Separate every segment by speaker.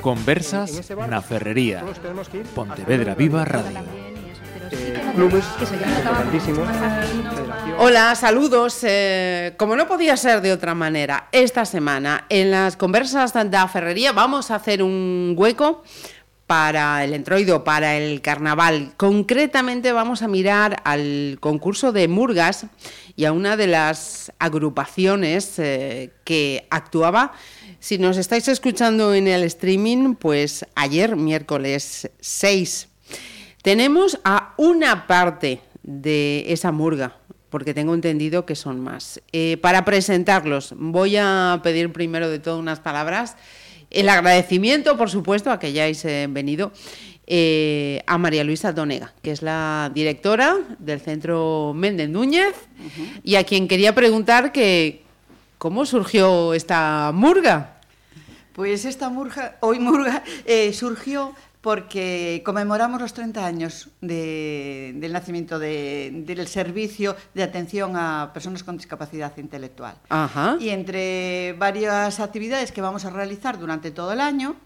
Speaker 1: Conversas na Ferrería. Pontevedra Viva Radio.
Speaker 2: eh,
Speaker 3: clubes
Speaker 2: Hola, saludos. Eh, como no podía ser de otra manera, esta semana en las conversas de la Ferrería vamos a hacer un hueco para el entroido, para el carnaval. Concretamente vamos a mirar al concurso de Murgas y a una de las agrupaciones eh, que actuaba. Si nos estáis escuchando en el streaming, pues ayer, miércoles 6 tenemos a una parte de esa murga, porque tengo entendido que son más. Eh, para presentarlos, voy a pedir primero de todo unas palabras. El agradecimiento, por supuesto, a que hayáis eh, venido. eh, a María Luisa Donega, que es la directora del Centro Méndez Núñez, y a quien quería preguntar que cómo surgió esta murga.
Speaker 4: Pues esta murga, hoy murga, eh, surgió porque conmemoramos los 30 años de- del nacimiento de- del servicio de atención a personas con discapacidad intelectual.
Speaker 2: Ajá.
Speaker 4: Y entre varias actividades que vamos a realizar durante todo el año,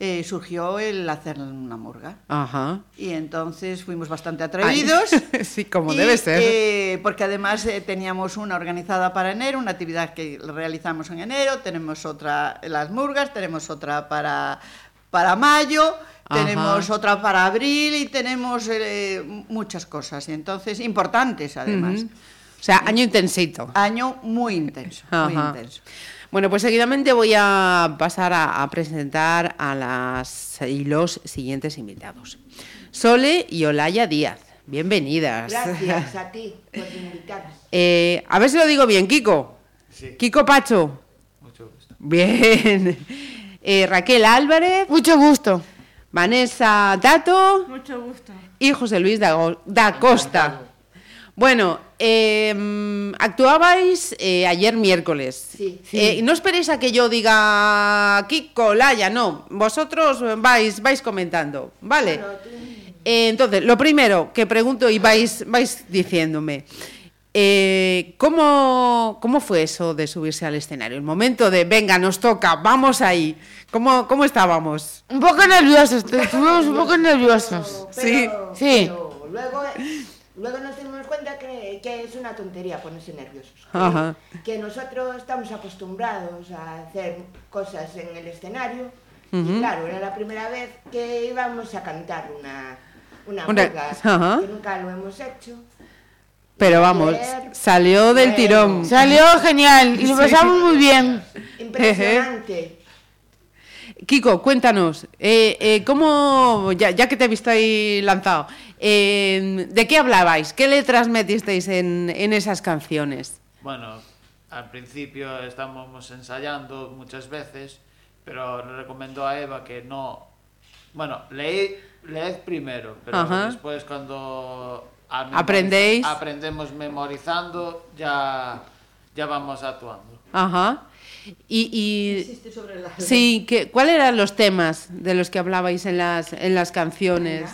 Speaker 4: eh, surgió el hacer una murga.
Speaker 2: Ajá.
Speaker 4: Y entonces fuimos bastante atraídos.
Speaker 2: sí, como
Speaker 4: Y,
Speaker 2: debe ser.
Speaker 4: eh, porque además eh, teníamos una organizada para enero, una actividad que realizamos en enero, tenemos otra en las murgas, tenemos otra para, para mayo,
Speaker 2: Ajá.
Speaker 4: tenemos otra para abril y tenemos eh, muchas cosas. Y entonces, importantes además.
Speaker 2: Ujú. O sea, año intensito.
Speaker 4: Año muy intenso, muy
Speaker 2: Ajá.
Speaker 4: intenso.
Speaker 2: Bueno, pues seguidamente voy a pasar a, a presentar a las y los siguientes invitados. Sole y Olaya Díaz, bienvenidas.
Speaker 5: Gracias a ti por invitarnos.
Speaker 2: Eh, a ver si lo digo bien, Kiko. Kiko Pacho. Bien. Eh, Raquel Álvarez. Mucho gusto. Vanessa Dato.
Speaker 6: Mucho gusto.
Speaker 2: y José Luis da, Go- da Costa. Bueno, eh, actuabais eh, ayer miércoles.
Speaker 5: Sí.
Speaker 2: Eh, no esperéis a que yo diga Kiko, Laya, no. Vosotros vais, vais comentando, ¿vale? Eh, entonces, lo primero que pregunto y vais, vais diciéndome. eh, ¿cómo, ¿Cómo fue eso de subirse al escenario? El momento de, venga, nos toca, vamos ahí. ¿Cómo, cómo estábamos?
Speaker 7: Un poco nerviosos, te- estuvimos un poco nerviosos.
Speaker 5: Pero-
Speaker 2: Sí,
Speaker 5: pero-
Speaker 7: sí.
Speaker 5: pero luego, luego nos dimos cuenta que, que es una tontería ponerse nerviosos.
Speaker 2: Ajá.
Speaker 5: Que nosotros estamos acostumbrados a hacer cosas en el escenario. Y claro, era la primera vez que íbamos a cantar una, una,
Speaker 2: Una-
Speaker 5: murga,
Speaker 2: ajá.
Speaker 5: que nunca lo hemos hecho.
Speaker 2: Pero vamos,
Speaker 5: Ayer,
Speaker 2: salió del
Speaker 5: bueno.
Speaker 2: tirón.
Speaker 7: Salió genial y lo pasamos muy bien.
Speaker 5: Impresionante.
Speaker 2: Kiko, cuéntanos, eh, eh, ¿cómo, ya, ya que te he visto ahí lanzado, eh, ¿de qué hablabais? ¿Qué letras metisteis en, en esas canciones?
Speaker 8: Bueno, al principio estábamos ensayando muchas veces, pero le recomendó a Eva que no... Bueno, leed, leed primero, pero
Speaker 2: Ajá.
Speaker 8: después cuando... al memoriz-
Speaker 2: Aprendéis.
Speaker 8: Aprendemos memorizando, ya, ya vamos actuando.
Speaker 2: Ajá. Y, y sí, ¿qué- ¿cuáles eran los temas de los que hablabais en las, en las canciones?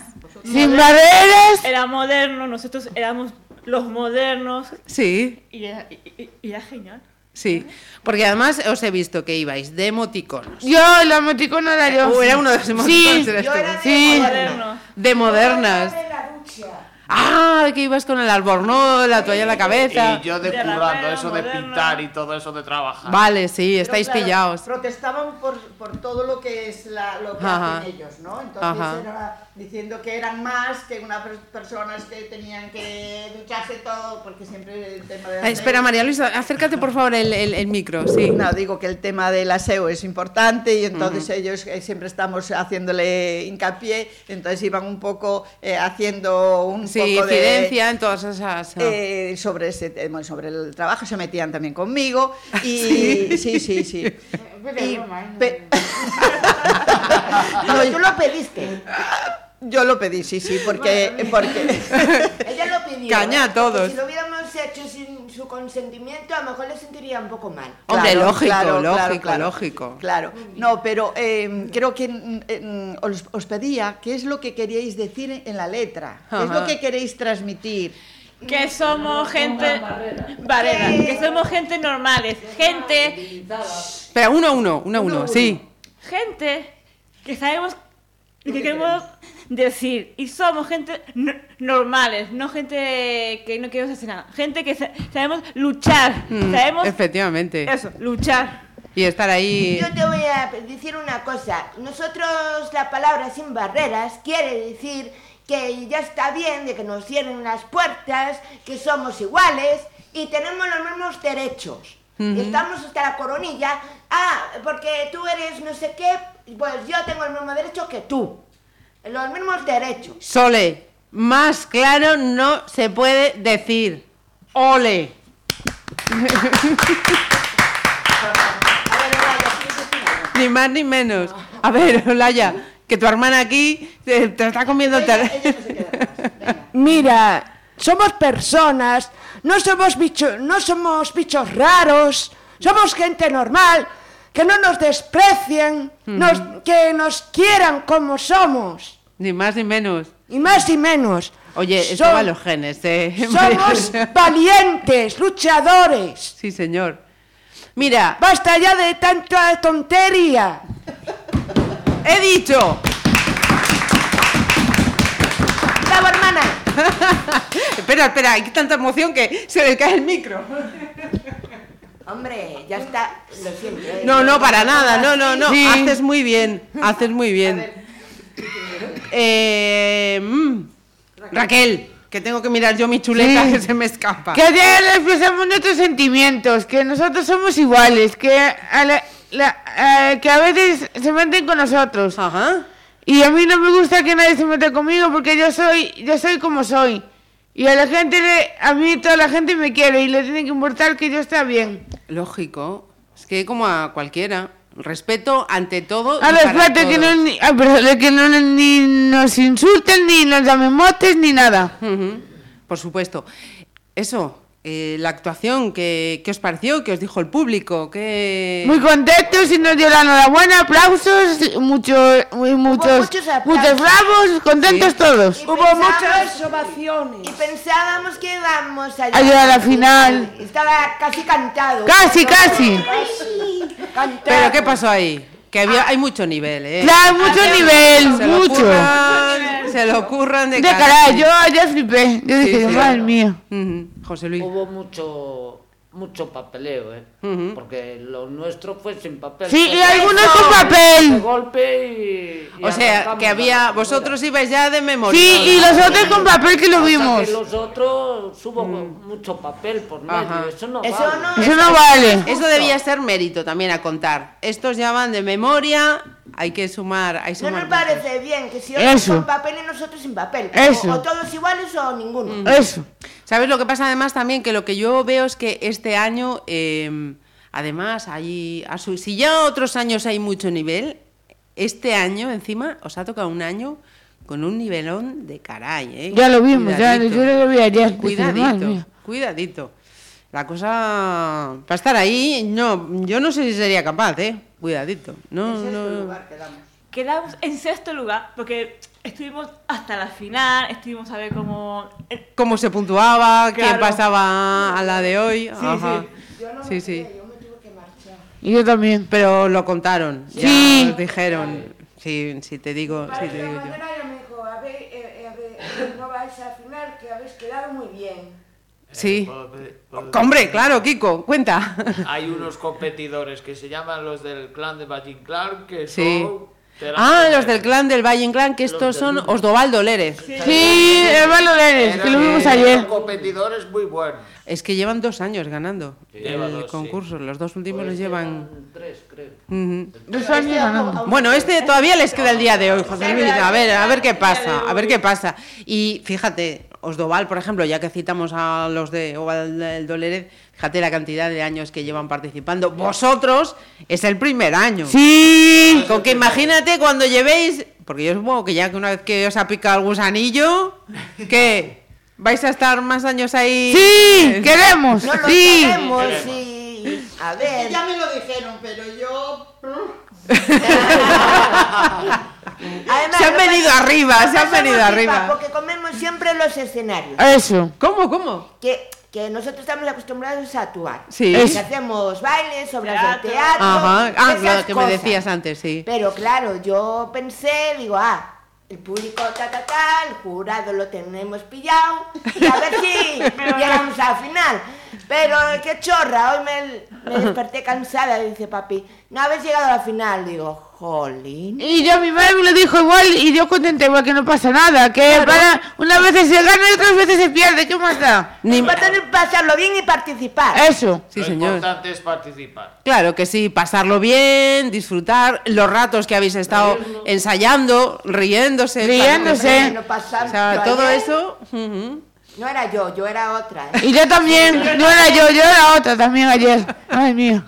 Speaker 7: Sin barreras.
Speaker 6: Era moderno, nosotros éramos los modernos
Speaker 2: Sí,
Speaker 6: y era, y- y- y era genial.
Speaker 2: sí. Porque además os he visto que ibais de emoticonos.
Speaker 7: Yo, el emoticona era yo.
Speaker 2: Uh, era uno de los emoticonos,
Speaker 7: Sí,
Speaker 2: eras
Speaker 5: Yo
Speaker 2: tú.
Speaker 5: era de
Speaker 7: Sí.
Speaker 5: moderna.
Speaker 6: Modernos.
Speaker 2: De modernas.
Speaker 5: Yo era de la ducha.
Speaker 2: Ah, que ibas con el albornoz, la toalla en la cabeza.
Speaker 8: Y yo de
Speaker 6: De
Speaker 8: currando,
Speaker 6: rapero,
Speaker 8: eso de
Speaker 6: moderno.
Speaker 8: pintar y todo eso de trabajar.
Speaker 2: Vale, sí,
Speaker 4: Pero,
Speaker 2: estáis
Speaker 4: claro,
Speaker 2: pillados.
Speaker 4: Protestaban por, por todo lo que es la, lo que
Speaker 2: Ajá.
Speaker 4: hacen ellos, ¿no? Entonces
Speaker 2: Ajá.
Speaker 4: era diciendo que eran más que unas pers- personas que tenían que ducharse todo, porque siempre el tema de
Speaker 2: Ah, espera, María Luisa, acércate por favor el, el- el micro, sí.
Speaker 4: No, digo que el tema del aseo E es importante y entonces ellos eh, siempre estamos haciéndole hincapié, entonces iban un poco eh, haciendo un
Speaker 2: Sí,
Speaker 4: poco de,
Speaker 2: incidencia en todas esas. ah.
Speaker 4: eh, sobre ese tema, sobre el trabajo, se metían también conmigo y
Speaker 2: Sí.
Speaker 4: sí, sí, sí.
Speaker 5: Pero
Speaker 4: Y
Speaker 5: es broma, ¿eh?
Speaker 4: pe-
Speaker 5: No, tú lo pediste.
Speaker 4: yo lo pedí, sí, sí, porque
Speaker 5: Madre mía.
Speaker 4: porque
Speaker 5: Ella lo pidió. ¿eh?
Speaker 2: Caña a
Speaker 5: porque
Speaker 2: todos.
Speaker 5: Si lo hubiéramos hecho sin su consentimiento, a lo mejor le sentiría un poco mal.
Speaker 2: Hombre,
Speaker 4: Claro,
Speaker 2: lógico,
Speaker 4: claro,
Speaker 2: lógico,
Speaker 4: claro, claro,
Speaker 2: lógico.
Speaker 4: Claro, no, pero eh, creo que mm, eh, mm, os, os pedía qué es lo que queríais decir en la letra, qué es
Speaker 2: Ajá.
Speaker 4: lo que queréis transmitir.
Speaker 6: Que somos gente. Barrera. Que somos gente normales. Gente.
Speaker 2: Espera, uno a uno, uno a uno, sí.
Speaker 6: Gente. que sabemos lo que queremos decir. Y somos gente no- normales, no gente que no queremos hacer nada. Gente que sa- sabemos luchar.
Speaker 2: Mm,
Speaker 6: sabemos
Speaker 2: Efectivamente.
Speaker 6: eso, luchar.
Speaker 2: Y estar ahí.
Speaker 5: Yo te voy a decir una cosa. Nosotros la palabra sin barreras quiere decir que ya está bien de que nos cierren las puertas, que somos iguales y tenemos los mismos derechos. Y estamos hasta la coronilla. Ah, porque tú eres no sé qué, pues yo tengo el mismo derecho que tú. Los mismos derechos.
Speaker 2: Sole, más claro no se puede decir. Ole.
Speaker 5: A ver, Olaya, ¿quieres decir algo?
Speaker 2: Ni más ni menos. A ver, Olaya, que tu hermana aquí te, te está comiendo el
Speaker 5: Ella-
Speaker 2: ter-
Speaker 5: ella no se queda atrás. Venga.
Speaker 9: Mira, somos personas, no somos bichos, no somos bichos raros, somos gente normal, que no nos desprecien, nos- que nos quieran como somos,
Speaker 2: Ni más ni menos.
Speaker 9: y más y menos.
Speaker 2: Oye, eso
Speaker 9: Som-
Speaker 2: va a los genes, ¿eh?
Speaker 9: Somos valientes, luchadores.
Speaker 2: Sí, señor. Mira,
Speaker 9: Basta ya de tanta tontería.
Speaker 2: he dicho.
Speaker 5: ¡Bravo, hermana!
Speaker 2: Espera, espera, hay tanta emoción que se le cae el micro.
Speaker 5: Hombre, ya está. Lo siento. eh.
Speaker 2: No, no, para nada, no, no, no.
Speaker 7: Sí.
Speaker 2: Haces muy bien, haces muy bien. Eh, mm, Raquel, que tengo que mirar yo mi chuleta
Speaker 7: Sí.
Speaker 2: que se me escapa.
Speaker 7: Que ya expresamos nuestros sentimientos, que nosotros somos iguales, que a, la- la- eh, que a veces se meten con nosotros.
Speaker 2: Ajá.
Speaker 7: Y a mí no me gusta que nadie se meta conmigo porque yo soy, yo soy como soy. Y a la gente, le- a mí toda la gente me quiere y le tiene que importar que yo esté bien.
Speaker 2: Lógico. Es que como a cualquiera. Respeto ante todo. y
Speaker 7: A
Speaker 2: para
Speaker 7: respeto que no,
Speaker 2: todos.
Speaker 7: ni, ah, pero de que no ni nos insulten, ni nos llamen motes, ni nada.
Speaker 2: Ujú, Por supuesto. Eso, eh, la actuación, ¿qué, ¿qué os pareció? ¿Qué os dijo el público? ¿Qué...
Speaker 7: Muy contentos y nos dio la enhorabuena, aplausos, mucho, muy, muchos,
Speaker 5: muchos aplausos.
Speaker 7: muchos bravos, contentos
Speaker 2: Sí.
Speaker 7: todos.
Speaker 9: Hubo
Speaker 5: Pensábamos-
Speaker 9: muchas
Speaker 5: Y
Speaker 9: ovaciones.
Speaker 5: pensábamos que íbamos a
Speaker 7: A llegar a la final.
Speaker 5: Estaba casi cantado.
Speaker 7: Casi, casi.
Speaker 5: Cantado.
Speaker 2: ¿Pero qué pasó ahí? Que había, hay mucho nivel, ¿eh?
Speaker 7: Ah. Claro, mucho nivel,
Speaker 2: se lo
Speaker 7: mucho.
Speaker 2: curran, se lo curran de,
Speaker 7: De
Speaker 2: cara.
Speaker 7: caray, yo ya flipé. Yo dije,
Speaker 2: sí.
Speaker 7: madre mía.
Speaker 2: Ujú, José Luis.
Speaker 10: Hubo mucho mucho papeleo, ¿eh? Porque lo nuestro fue sin papel.
Speaker 7: Sí,
Speaker 10: Fue
Speaker 7: y algunos
Speaker 10: de-
Speaker 7: con
Speaker 10: De
Speaker 7: papel.
Speaker 10: golpe y... y
Speaker 2: O sea,
Speaker 10: arrancamos
Speaker 2: que
Speaker 10: la
Speaker 2: había,
Speaker 10: basura.
Speaker 2: vosotros ibais ya de memoria.
Speaker 7: Sí, y los otros con papel que lo
Speaker 10: Hasta
Speaker 7: vimos.
Speaker 10: que los otros hubo mucho papel por medio.
Speaker 2: Mm. Ajá.
Speaker 10: Eso no
Speaker 5: Eso
Speaker 10: vale.
Speaker 5: no-
Speaker 7: Eso no vale.
Speaker 2: Eso debía ser mérito también a contar. Estos ya van de memoria, hay que sumar, hay
Speaker 5: No
Speaker 2: sumar.
Speaker 5: nos
Speaker 2: puntos.
Speaker 5: parece bien que si otros
Speaker 7: Eso.
Speaker 5: con papel y nosotros sin papel.
Speaker 7: Eso.
Speaker 5: O, o todos iguales o ninguno.
Speaker 7: Eso.
Speaker 2: ¿Sabes lo que pasa además también? Que lo que yo veo es que este año, eh, además, hay, a su- si ya otros años hay mucho nivel, este año encima os ha tocado un año con un nivelón de caray, ¿eh?
Speaker 7: Ya lo vimos, ya,
Speaker 2: Cuidadito.
Speaker 7: yo lo vi ayer. Dije, madre
Speaker 2: Cuidadito,
Speaker 7: mía.
Speaker 2: cuidadito. La cosa para estar ahí, no, yo no sé si sería capaz, ¿eh? Cuidadito. No,
Speaker 5: este
Speaker 2: no.
Speaker 6: Quedamos en sexto lugar porque estuvimos hasta la final, estuvimos a ver cómo... eh,
Speaker 2: Cómo se puntuaba, qué
Speaker 6: Claro.
Speaker 2: pasaba a la de hoy. Ajá. sí, sí.
Speaker 7: Y yo también.
Speaker 2: Pero lo contaron, ya
Speaker 7: Sí.
Speaker 2: os dijeron. Sí, sí te digo, sí te digo yo.
Speaker 5: me dijo, a ver, eh, no vais a final que habéis quedado muy bien.
Speaker 2: Sí.
Speaker 8: ¿puedo pedir- puedo decir?
Speaker 2: Hombre, claro, Kiko, cuenta.
Speaker 8: Hay unos competidores que se llaman los del clan de Bajin Clark, que
Speaker 2: Sí.
Speaker 8: son... de la
Speaker 2: Ah, los
Speaker 8: primera.
Speaker 2: del clan del Valle Inclán, que estos son Osdovaldo Lérez. Eh,
Speaker 7: Sí, hermano Leres, que lo
Speaker 8: Eran-
Speaker 7: vimos
Speaker 8: eran
Speaker 7: ayer.
Speaker 8: competidores muy buenos.
Speaker 2: Es que llevan dos años ganando
Speaker 10: Lleva
Speaker 2: el
Speaker 10: dos, sí.
Speaker 2: concurso, los dos últimos los llevan...
Speaker 10: Tres, creo.
Speaker 2: Ujú.
Speaker 7: Dos años ganando.
Speaker 2: Bueno, este todavía les queda el día de hoy, José Luis. A ver, a ver qué pasa, a ver qué pasa. Y fíjate, Osdoval, por ejemplo, ya que citamos a los de Oval del Dolérez, fíjate la cantidad de años que llevan participando. Vosotros es el primer año.
Speaker 7: Sí.
Speaker 2: Con que imagínate cuando llevéis, porque yo supongo que ya que una vez que os ha picado el gusanillo, ¿qué? ¿Vais a estar más años ahí? Eh,
Speaker 7: Sí, queremos.
Speaker 5: No lo
Speaker 7: Sí.
Speaker 5: sabemos y... A ver...
Speaker 4: Ya me lo dijeron, pero yo...
Speaker 5: Además,
Speaker 2: Se han
Speaker 5: lo pas-
Speaker 2: venido arriba, se
Speaker 5: lo
Speaker 2: han venido
Speaker 5: pasamos pipa,
Speaker 2: arriba.
Speaker 5: Porque comemos siempre los escenarios.
Speaker 7: Eso.
Speaker 2: ¿Cómo, cómo?
Speaker 5: que que nosotros estamos acostumbrados a actuar.
Speaker 2: Sí.
Speaker 5: Que
Speaker 2: Es-
Speaker 5: hacemos bailes, obras de
Speaker 2: Teatro.
Speaker 5: teatro.
Speaker 2: Ajá. Ah,
Speaker 5: esas
Speaker 2: claro, que me
Speaker 5: cosas.
Speaker 2: decías antes, sí.
Speaker 5: Pero claro, yo pensé, digo, ah, el público ta ta ta, el jurado lo tenemos pillado, y a ver si llegamos al final. Pero qué chorra, hoy me, me desperté cansada, dice papi, no habéis llegado al final, digo, jolín.
Speaker 7: Y yo, mi madre me lo dijo igual y yo contenta igual que no pasa nada, que para unas veces se gana y otras veces se pierde, ¿qué más da?
Speaker 5: Ni pasarlo bien y participar.
Speaker 2: Eh,
Speaker 7: Eso.
Speaker 2: Sí,
Speaker 8: lo
Speaker 2: señor.
Speaker 8: importante es participar.
Speaker 2: Claro que sí, pasarlo bien, disfrutar los ratos que habéis estado ensayando, riéndose,
Speaker 5: Bueno,
Speaker 2: riéndose.
Speaker 5: no pasa-
Speaker 2: eh. O sea,
Speaker 5: yo
Speaker 2: todo
Speaker 5: ayer
Speaker 2: eso.
Speaker 5: No era yo, yo era otra. ¿eh?
Speaker 7: Y yo también, no era yo, yo era otra también ayer. Ay, mío.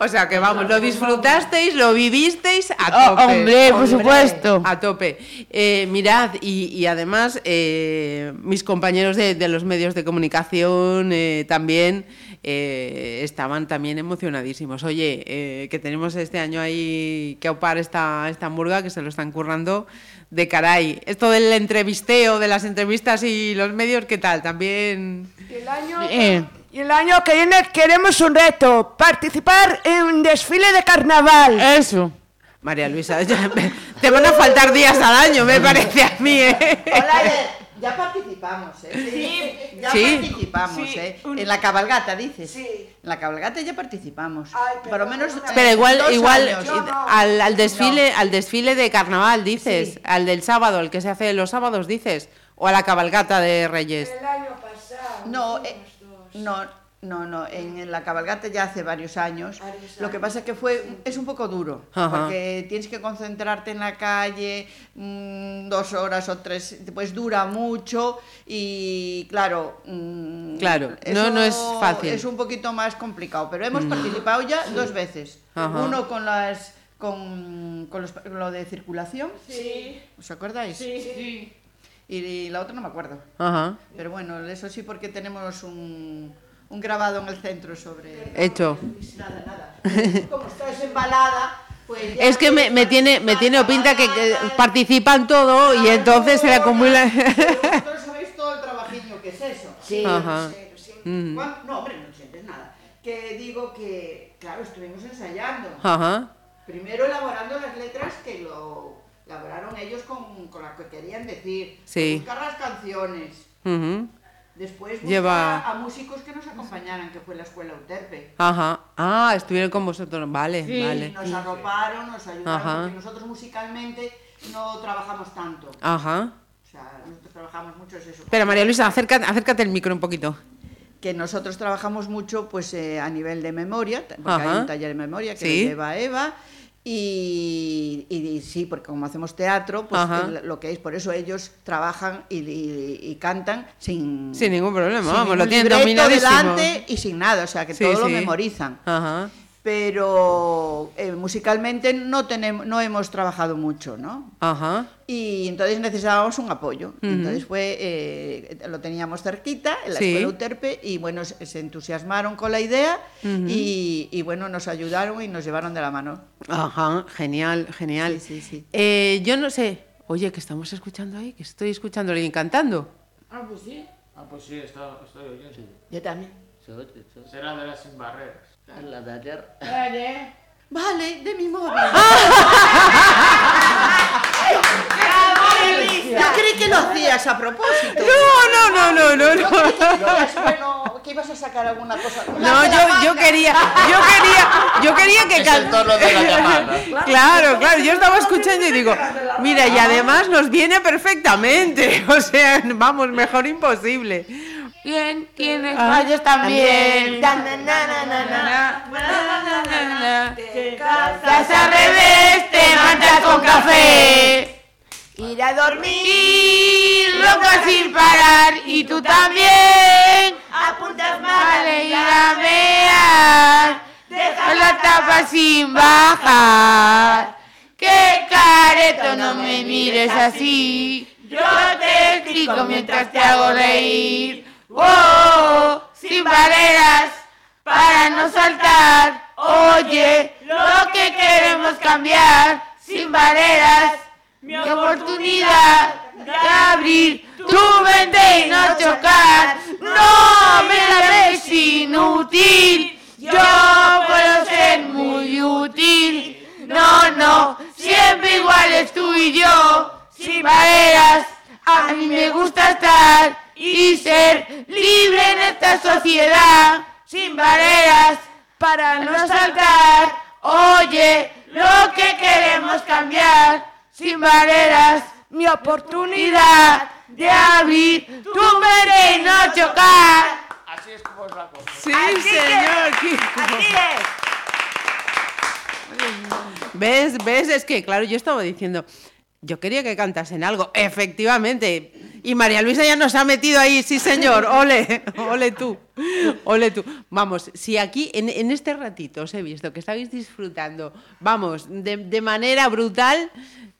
Speaker 2: O sea que vamos, lo disfrutasteis, lo vivisteis a
Speaker 7: Oh,
Speaker 2: tope.
Speaker 7: hombre, por supuesto.
Speaker 2: A tope. Eh, mirad, y, y además eh, mis compañeros de, de los medios de comunicación eh, también eh, estaban también emocionadísimos. Oye, eh, que tenemos este año ahí que aupar esta, esta hamburga que se lo están currando de caray. Esto del entrevisteo, de las entrevistas y los medios, ¿qué tal? También...
Speaker 9: El año,
Speaker 7: Eh.
Speaker 9: y el año que viene queremos un reto, participar en un desfile de carnaval.
Speaker 7: Eso.
Speaker 2: María Luisa, ya me- te van a faltar días al año, me parece a mí, ¿eh?
Speaker 4: Hola, ya, ya participamos, ¿eh? Sí, ya
Speaker 2: Sí.
Speaker 4: participamos,
Speaker 6: Sí,
Speaker 4: ¿eh?
Speaker 6: un-
Speaker 4: En la cabalgata, dices.
Speaker 5: Sí.
Speaker 4: En la cabalgata ya participamos.
Speaker 5: Ay, pero
Speaker 4: Por lo menos.
Speaker 5: una-
Speaker 2: Pero igual,
Speaker 4: dos
Speaker 2: igual
Speaker 4: años.
Speaker 2: eh, al, al desfile, al desfile de carnaval dices,
Speaker 4: Sí.
Speaker 2: al del sábado, el que se hace los sábados dices, o a la cabalgata de Reyes.
Speaker 4: No, eh, no, no, no, en, en la cabalgata ya hace varios años. Lo que pasa es que fue, es un poco duro,
Speaker 2: Ajá.
Speaker 4: porque tienes que concentrarte en la calle mm, dos horas o tres, pues dura mucho y claro. mm,
Speaker 2: Claro, no- no es
Speaker 4: eso
Speaker 2: fácil. Mm.
Speaker 4: Es un poquito más complicado, pero hemos participado ya dos veces.
Speaker 2: Ajá.
Speaker 4: Uno con las... Con, con los- con lo de circulación, ¿os acordáis? Y la otra no me acuerdo.
Speaker 2: Ajá,
Speaker 4: Pero bueno, eso sí porque tenemos un, un grabado en el centro sobre...
Speaker 2: hecho.
Speaker 4: Nada, nada. Como estás embalada, pues... ya-
Speaker 2: Es que me, me tiene, me tiene o pinta que, que participan todo y entonces se le acumula.
Speaker 4: Vosotros sabéis todo el trabajillo que es eso.
Speaker 5: Sí.
Speaker 2: Ajá. Mm.
Speaker 4: Juan- No, hombre, no sientes nada. Que digo que, claro, estuvimos ensayando.
Speaker 2: Ajá.
Speaker 4: Primero elaborando las letras que lo elaboraron ellos con, con lo que querían decir.
Speaker 2: Sí.
Speaker 4: Buscar las canciones.
Speaker 2: ujú,
Speaker 4: Después buscar
Speaker 2: Lleva-
Speaker 4: a músicos que nos acompañaran, que fue la escuela Uterpe.
Speaker 2: Ajá. Ah, estuvieron con vosotros. Vale, vale.
Speaker 4: Nos arroparon, nos ayudaron,
Speaker 2: Ajá.
Speaker 4: porque nosotros musicalmente no trabajamos tanto.
Speaker 2: Ajá.
Speaker 4: O sea, nosotros trabajamos mucho es eso.
Speaker 2: Espera, María Luisa, acércate, acércate el micro un poquito.
Speaker 4: Que nosotros trabajamos mucho pues eh, a nivel de memoria, t- porque
Speaker 2: Ajá.
Speaker 4: hay un taller de memoria que
Speaker 2: Sí.
Speaker 4: lo lleva Eva. Y, y- y sí, porque como hacemos teatro, pues
Speaker 2: Ajá.
Speaker 4: el- lo que es, por eso ellos trabajan y, y- y cantan sin,
Speaker 2: Sin ningún problema,
Speaker 4: sin
Speaker 2: vamos, lo
Speaker 4: ningún
Speaker 2: tienen
Speaker 4: libreto
Speaker 2: dominadísimo.
Speaker 4: delante y sin nada, o sea que
Speaker 2: Sí,
Speaker 4: todo lo
Speaker 2: sí.
Speaker 4: memorizan.
Speaker 2: Ajá.
Speaker 4: Pero eh, musicalmente no, tenemos, no hemos trabajado mucho, ¿no?
Speaker 2: Ajá.
Speaker 4: Y entonces necesitábamos un apoyo. Entonces fue, eh, lo teníamos cerquita, en la
Speaker 2: Sí.
Speaker 4: escuela UTERPE, y bueno, se se entusiasmaron con la idea y, y, bueno, nos ayudaron y nos llevaron de la mano.
Speaker 2: Ajá, genial, genial.
Speaker 4: Sí, sí, sí.
Speaker 2: Eh, yo no sé. Oye, que estamos escuchando ahí, que estoy escuchando a alguien cantando.
Speaker 10: Ah, pues sí.
Speaker 8: Ah, pues sí, está, estoy oyendo.
Speaker 5: Yo también.
Speaker 10: Se oye, se oye.
Speaker 8: Será de las sin barreras.
Speaker 10: La de ayer.
Speaker 4: Vale, de mi móvil. Yo creí que lo hacías a propósito.
Speaker 2: No, no, no, no, no, no.
Speaker 4: Bueno, que ibas a sacar alguna cosa.
Speaker 2: No, yo, yo quería, yo quería, yo quería que
Speaker 8: Es el
Speaker 2: cantara.
Speaker 8: tono de la llamada.
Speaker 2: Claro, claro, yo estaba escuchando y digo, mira, y además nos viene perfectamente. O sea, vamos, mejor imposible. Ah,
Speaker 7: ¿Quién tiene fallos también?
Speaker 5: Na, na, na, na, na, na.
Speaker 7: Estás al revés, te manchas con café.
Speaker 5: Ir a dormir,
Speaker 7: Y roncas sin parar, y tú también.
Speaker 5: apuntas mal.
Speaker 7: Vale, ir a mear. Deja la tapa sin bajar. Qué careto, no me mires así. Yo te explico mientras te hago reír. Oh, sin barreras para no saltar. Oye, lo que queremos cambiar. Sin barreras, mi oportunidad de abrir tu mente y no chocar. primaveras. A mí me gusta estar y ser libre en esta sociedad, sin barreras, para no saltar. Oye, lo que queremos cambiar, sin barreras, mi oportunidad de abrir tu mente y no chocar.
Speaker 8: Así es como es la cosa.
Speaker 2: Sí, señor. Kiko. ¿Ves? ¿Ves? Es que, claro, yo estaba diciendo, yo quería que cantasen algo, efectivamente. Y María Luisa ya nos ha metido ahí, sí, señor, ole, ole tú, ole tú. Vamos, si aquí, en, en este ratito os he visto que estáis disfrutando, vamos, de, de manera brutal,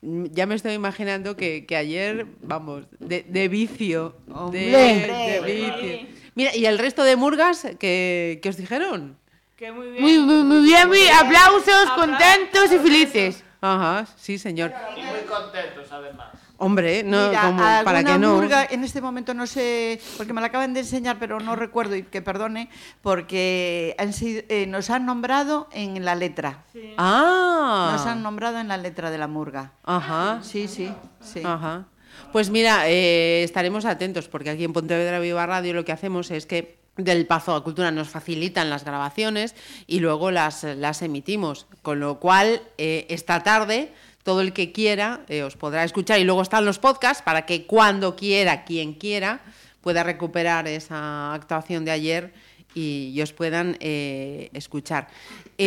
Speaker 2: mm, ya me estoy imaginando que, que ayer, vamos, de, de vicio. de- De,
Speaker 6: Hombre.
Speaker 2: vicio. Mira, ¿y el resto de murgas que, os dijeron?
Speaker 6: Que muy bien.
Speaker 7: Muy, muy, muy bien, muy- aplausos,
Speaker 6: Aplausos.
Speaker 7: contentos y felices.
Speaker 2: Ajá, sí, señor.
Speaker 8: Y muy contentos, además.
Speaker 2: Hombre, no,
Speaker 4: Mira,
Speaker 2: como, para
Speaker 4: alguna
Speaker 2: que no.
Speaker 4: murga, en este momento no sé, porque me la acaban de enseñar, pero no recuerdo y que perdone, porque han sido- eh, nos han nombrado en la letra.
Speaker 2: Ah.
Speaker 4: Nos han nombrado en la letra de la murga.
Speaker 2: Ajá,
Speaker 4: Sí, sí, sí.
Speaker 2: ajá. Pues mira, eh, estaremos atentos porque aquí en Pontevedra Viva Radio lo que hacemos es que del Pazo a Cultura nos facilitan las grabaciones y luego las, las emitimos. Con lo cual, eh, esta tarde, todo el que quiera eh, os podrá escuchar y luego están los podcasts para que cuando quiera, quien quiera, pueda recuperar esa actuación de ayer y, y os puedan eh, escuchar.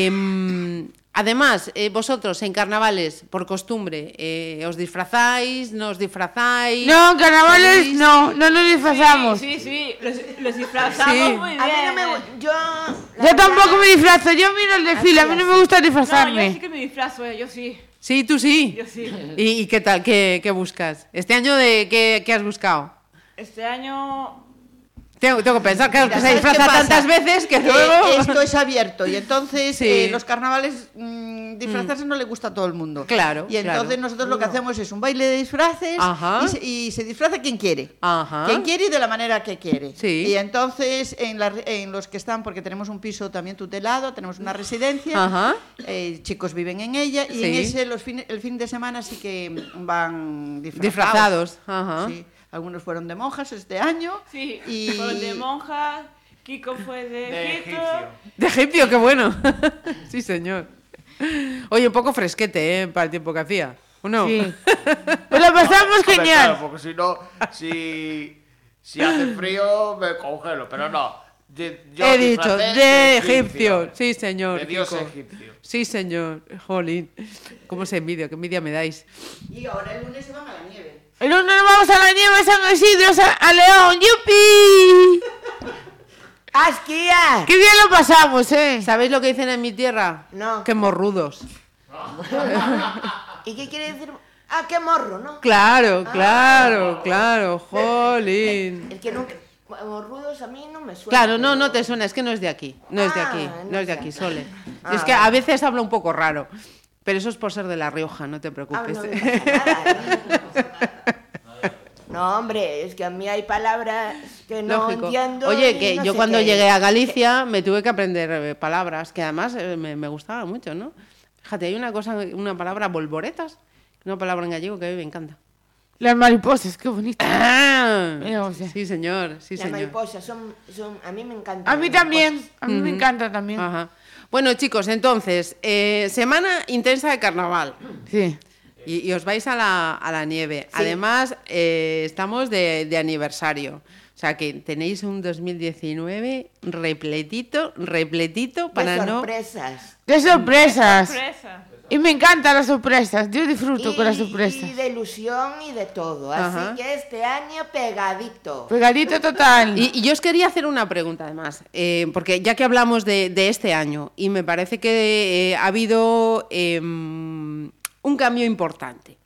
Speaker 2: Em, además, eh, vosotros en carnavales, por costumbre, eh, ¿os disfrazáis? ¿No os disfrazáis?
Speaker 7: No, carnavales no, no nos disfrazamos.
Speaker 6: Sí, sí, los, los disfrazamos
Speaker 2: Sí.
Speaker 6: muy bien.
Speaker 5: A mí no me gu- Yo. la
Speaker 7: Yo
Speaker 5: verdad,
Speaker 7: tampoco me disfrazo, yo miro el desfile, a mí no me gusta
Speaker 6: No, yo sí
Speaker 7: disfrazarme.
Speaker 6: que me disfrazo, eh, yo sí,
Speaker 2: Sí, tú sí.
Speaker 6: yo sí.
Speaker 2: ¿Y, y qué tal? ¿Qué, qué buscas? ¿Este año de qué, qué has buscado?
Speaker 6: Este año
Speaker 2: Tengo, tengo que pensar, claro, que se
Speaker 4: ¿sabes qué
Speaker 2: disfraza
Speaker 4: pasa?
Speaker 2: tantas veces que
Speaker 4: Que
Speaker 2: luego...
Speaker 4: Eh, esto es abierto y entonces
Speaker 2: Sí.
Speaker 4: eh, los carnavales mm, disfrazarse no le gusta a todo el mundo.
Speaker 2: Claro,
Speaker 4: Y entonces
Speaker 2: claro.
Speaker 4: nosotros lo que hacemos es un baile de disfraces
Speaker 2: Ajá.
Speaker 4: y se, y se disfraza quien quiere.
Speaker 2: Ajá.
Speaker 4: Quien quiere y de la manera que quiere.
Speaker 2: Ah. Sí.
Speaker 4: Y entonces en, la re- en los que están, porque tenemos un piso también tutelado, tenemos una residencia,
Speaker 2: Ajá.
Speaker 4: eh, chicos viven en ella y en
Speaker 2: Sí.
Speaker 4: ese los fines- el fin de semana sí que van disfrazados.
Speaker 2: Disfrazados. Ajá.
Speaker 4: Sí. Algunos fueron de monjas este año.
Speaker 6: sí,
Speaker 4: y...
Speaker 6: fueron de monjas, Kiko fue de,
Speaker 8: De
Speaker 6: Egipto.
Speaker 8: egipcio.
Speaker 2: De egipcio, qué bueno. sí, señor. Oye, un poco fresquete, ¿eh? Para el tiempo que hacía. ¿O no?
Speaker 7: Sí. Pues lo pasamos
Speaker 8: Hombre, claro,
Speaker 7: genial.
Speaker 8: porque si no, si, si hace frío, me congelo, pero no. Di- yo
Speaker 2: He dicho,
Speaker 8: disfracé eh,
Speaker 2: de egipcio. Sí, señor.
Speaker 8: De dios
Speaker 2: Kiko.
Speaker 8: egipcio.
Speaker 2: Sí, señor. Jolín. ¿Cómo se envidia? ¿Qué envidia me dais?
Speaker 4: Y ahora el lunes se van a la nieve.
Speaker 7: El lunes nos vamos a la nieve de San Isidro, San- a León, ¡yupi!
Speaker 5: ¡A esquiar!
Speaker 7: ¡Qué bien lo pasamos, eh!
Speaker 2: ¿Sabéis lo que dicen en mi tierra?
Speaker 5: No.
Speaker 2: Que morrudos.
Speaker 5: ¿Y qué quiere decir? Ah, qué morro, ¿no?
Speaker 2: Claro,
Speaker 4: Ah.
Speaker 2: claro, claro. Jolín.
Speaker 5: El que nunca. Morrudos a mí no me suena.
Speaker 2: Claro, no,
Speaker 5: pero-
Speaker 2: no te suena. Es que no es de aquí. No es de aquí.
Speaker 5: Ah,
Speaker 2: No es de
Speaker 5: no
Speaker 2: aquí,
Speaker 5: sé.
Speaker 2: Sole.
Speaker 5: Ah,
Speaker 2: Es que a veces hablo un poco raro. Pero eso es por ser de La Rioja, no te
Speaker 5: Ah,
Speaker 2: preocupes.
Speaker 5: no, me pasa nada. No, hombre, es que a mí hay palabras que no
Speaker 2: Lógico.
Speaker 5: entiendo.
Speaker 2: Oye,
Speaker 5: y
Speaker 2: que
Speaker 5: no
Speaker 2: yo
Speaker 5: sé
Speaker 2: cuando
Speaker 5: qué.
Speaker 2: llegué a Galicia me tuve que aprender eh, palabras que además eh, me, me gustaban mucho, ¿no? Fíjate, hay una cosa, una palabra, bolboretas, una palabra en gallego que a mí me encanta.
Speaker 7: Las mariposas, qué bonito. Mira, o sea.
Speaker 2: Sí, señor, sí,
Speaker 5: Las
Speaker 2: señor.
Speaker 5: mariposas son, son. A mí me encantan.
Speaker 7: A mí
Speaker 5: las
Speaker 7: también, a mí me encanta también.
Speaker 2: Ajá. Bueno, chicos, entonces, eh, semana intensa de carnaval.
Speaker 7: Sí.
Speaker 2: Y, y os vais a la, a la nieve. Además, eh, estamos de, de aniversario. O sea que tenéis un 2019 repletito, repletito
Speaker 5: mariposas.
Speaker 2: para
Speaker 5: De
Speaker 2: no
Speaker 5: sorpresas.
Speaker 7: De sorpresas.
Speaker 6: Sorpresa.
Speaker 7: Y me encantan las sorpresas, yo disfruto con las sorpresas.
Speaker 5: y de ilusión y de todo.
Speaker 2: Ajá.
Speaker 5: Así que este año pegadito.
Speaker 7: Pegadito total.
Speaker 2: Y, y yo os quería hacer una pregunta además, eh, porque ya que hablamos de, de este año y me parece que eh, ha habido eh, un cambio importante.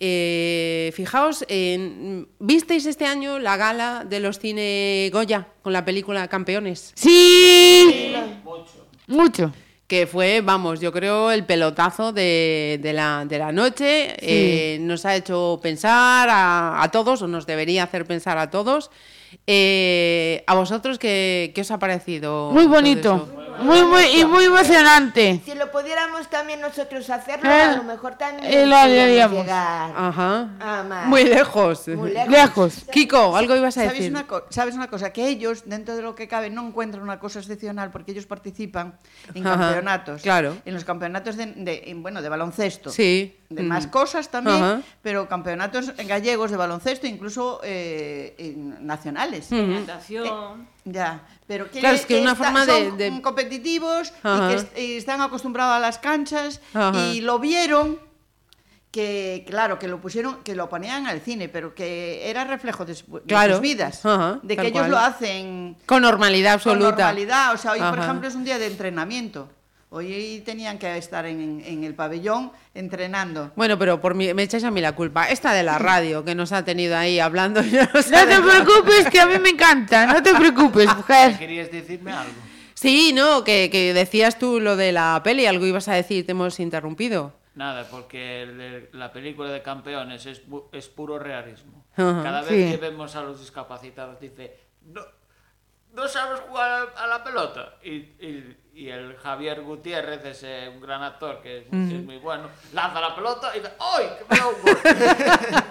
Speaker 2: Eh, fijaos, en- ¿visteis este año la gala de los cine Goya con la película Campeones?
Speaker 7: Sí. Mucho.
Speaker 2: Que fue, vamos, yo creo el pelotazo de, de la, de la noche. Eh, nos ha hecho pensar a, a todos, o nos debería hacer pensar a todos. Eh, ¿A vosotros qué, qué os ha parecido?
Speaker 7: Muy
Speaker 2: todo
Speaker 7: bonito.
Speaker 2: eso?
Speaker 7: Muy, muy, y muy emocionante.
Speaker 5: Si lo pudiéramos también nosotros hacerlo,
Speaker 7: Eh,
Speaker 5: a lo mejor también
Speaker 7: eh, lo
Speaker 5: podríamos
Speaker 7: haríamos.
Speaker 5: llegar Ah,
Speaker 2: Ajá.
Speaker 5: a más.
Speaker 2: Muy lejos.
Speaker 5: Muy lejos.
Speaker 2: Kiko, algo ibas a
Speaker 4: ¿Sabes
Speaker 2: decir.
Speaker 4: una, co- sabes una cosa? Que ellos, dentro de lo que cabe, no encuentran una cosa excepcional porque ellos participan en
Speaker 2: Ajá,
Speaker 4: campeonatos.
Speaker 2: claro.
Speaker 4: En los campeonatos de, de- en- bueno, de baloncesto.
Speaker 2: Sí.
Speaker 4: De
Speaker 2: Mm.
Speaker 4: más cosas también,
Speaker 2: Ajá.
Speaker 4: pero campeonatos gallegos de baloncesto, incluso eh, en- nacionales. Eh,
Speaker 2: Ujú.
Speaker 6: Natación.
Speaker 4: Ya, pero que,
Speaker 2: Mm. Claro, es que una
Speaker 4: esta-
Speaker 2: forma de-
Speaker 4: son mm,
Speaker 2: de-
Speaker 4: competitivos
Speaker 2: Ajá.
Speaker 4: y que est- y están acostumbrados a las canchas
Speaker 2: Ajá.
Speaker 4: y lo vieron que claro que lo pusieron que lo ponían al cine, pero que era reflejo de, su- de
Speaker 2: Claro.
Speaker 4: sus vidas,
Speaker 2: Ajá,
Speaker 4: de
Speaker 2: tal
Speaker 4: que ellos
Speaker 2: cual.
Speaker 4: lo hacen
Speaker 2: Mm. Con normalidad absoluta.
Speaker 4: con normalidad, o sea, hoy por
Speaker 2: Ajá.
Speaker 4: ejemplo es un día de entrenamiento. Hoy tenían que estar en, en el pabellón entrenando.
Speaker 2: Bueno, pero por mi- me echáis a mí la culpa. Esta de la radio que nos ha tenido ahí hablando. y no nos
Speaker 7: No
Speaker 2: ha
Speaker 7: te
Speaker 2: dejado.
Speaker 7: preocupes, que a mí me encanta. No te preocupes, mujer.
Speaker 8: ¿Querías decirme algo?
Speaker 2: Sí, no, que, que decías tú lo de la peli, algo ibas a decir, te hemos interrumpido.
Speaker 8: Nada, porque el de- la película de campeones es, pu- es puro realismo.
Speaker 2: Ajá,
Speaker 8: Cada vez
Speaker 7: sí.
Speaker 8: que vemos a los discapacitados dice, no, no sabes jugar a la pelota. Y, y- y el Javier Gutiérrez, es un gran actor que es, es muy bueno, lanza la pelota y dice, ¡ay, que me da un gol!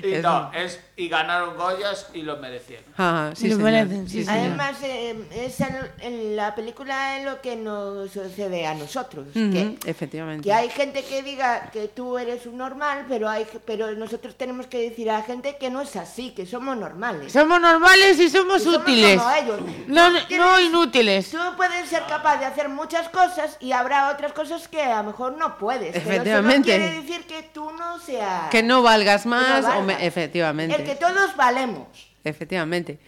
Speaker 8: y,
Speaker 2: Es
Speaker 8: no, es, y ganaron Goyas y lo merecieron.
Speaker 2: Ajá, Ah, sí,
Speaker 7: Lo
Speaker 2: señor,
Speaker 7: merecen, sí, señor.
Speaker 5: Además, eh, es en- en la película es lo que nos sucede a nosotros.
Speaker 2: Ujú,
Speaker 5: que-
Speaker 2: efectivamente.
Speaker 5: Que hay gente que diga que tú eres un normal, pero hay pero nosotros tenemos que decir a la gente que no es así, que somos normales.
Speaker 7: Somos normales y somos
Speaker 5: Que somos
Speaker 7: útiles.
Speaker 5: como ellos.
Speaker 7: No, no inútiles.
Speaker 5: Tú puedes ser capaz de hacer muchas cosas y habrá otras cosas que a lo mejor no puedes.
Speaker 2: Efectivamente.
Speaker 5: Pero eso no quiere decir que tú no seas.
Speaker 2: Que no valgas más,
Speaker 5: valgas.
Speaker 2: o me- efectivamente.
Speaker 5: El que todos valemos.
Speaker 2: Efectivamente.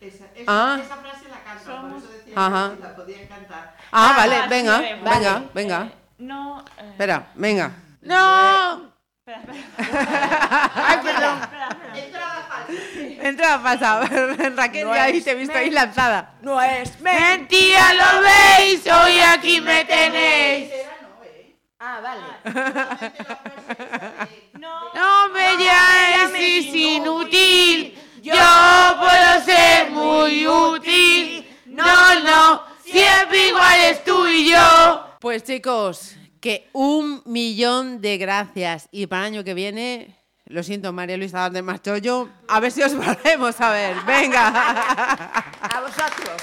Speaker 4: Esa,
Speaker 2: Ah.
Speaker 4: frase la canto, por eso decía
Speaker 2: Ajá.
Speaker 4: la podían cantar.
Speaker 2: Ah,
Speaker 6: Ah,
Speaker 2: vale,
Speaker 6: sí,
Speaker 2: venga,
Speaker 6: vale.
Speaker 2: venga, venga.
Speaker 6: No. eh,
Speaker 2: Espera, venga.
Speaker 7: No.
Speaker 2: Ay, perdón. Entraba falsa. Raquel, ya ahí te he visto ahí lanzada.
Speaker 9: No es
Speaker 7: Mentira, lo veis. Hoy aquí me tenéis.
Speaker 5: Ah, vale.
Speaker 6: No.
Speaker 7: No me llames es inútil. Yo puedo ser muy útil. No, no. Siempre iguales tú y yo.
Speaker 2: Pues chicos, que un millón de gracias. Y para el año que viene, lo siento, María Luisa Dante Machollo, a ver si os volvemos a ver. Venga.
Speaker 5: A vosotros.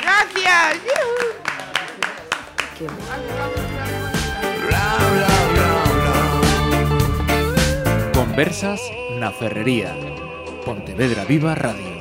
Speaker 7: Gracias.
Speaker 1: Conversas na Ferrería. Pontevedra Viva Radio.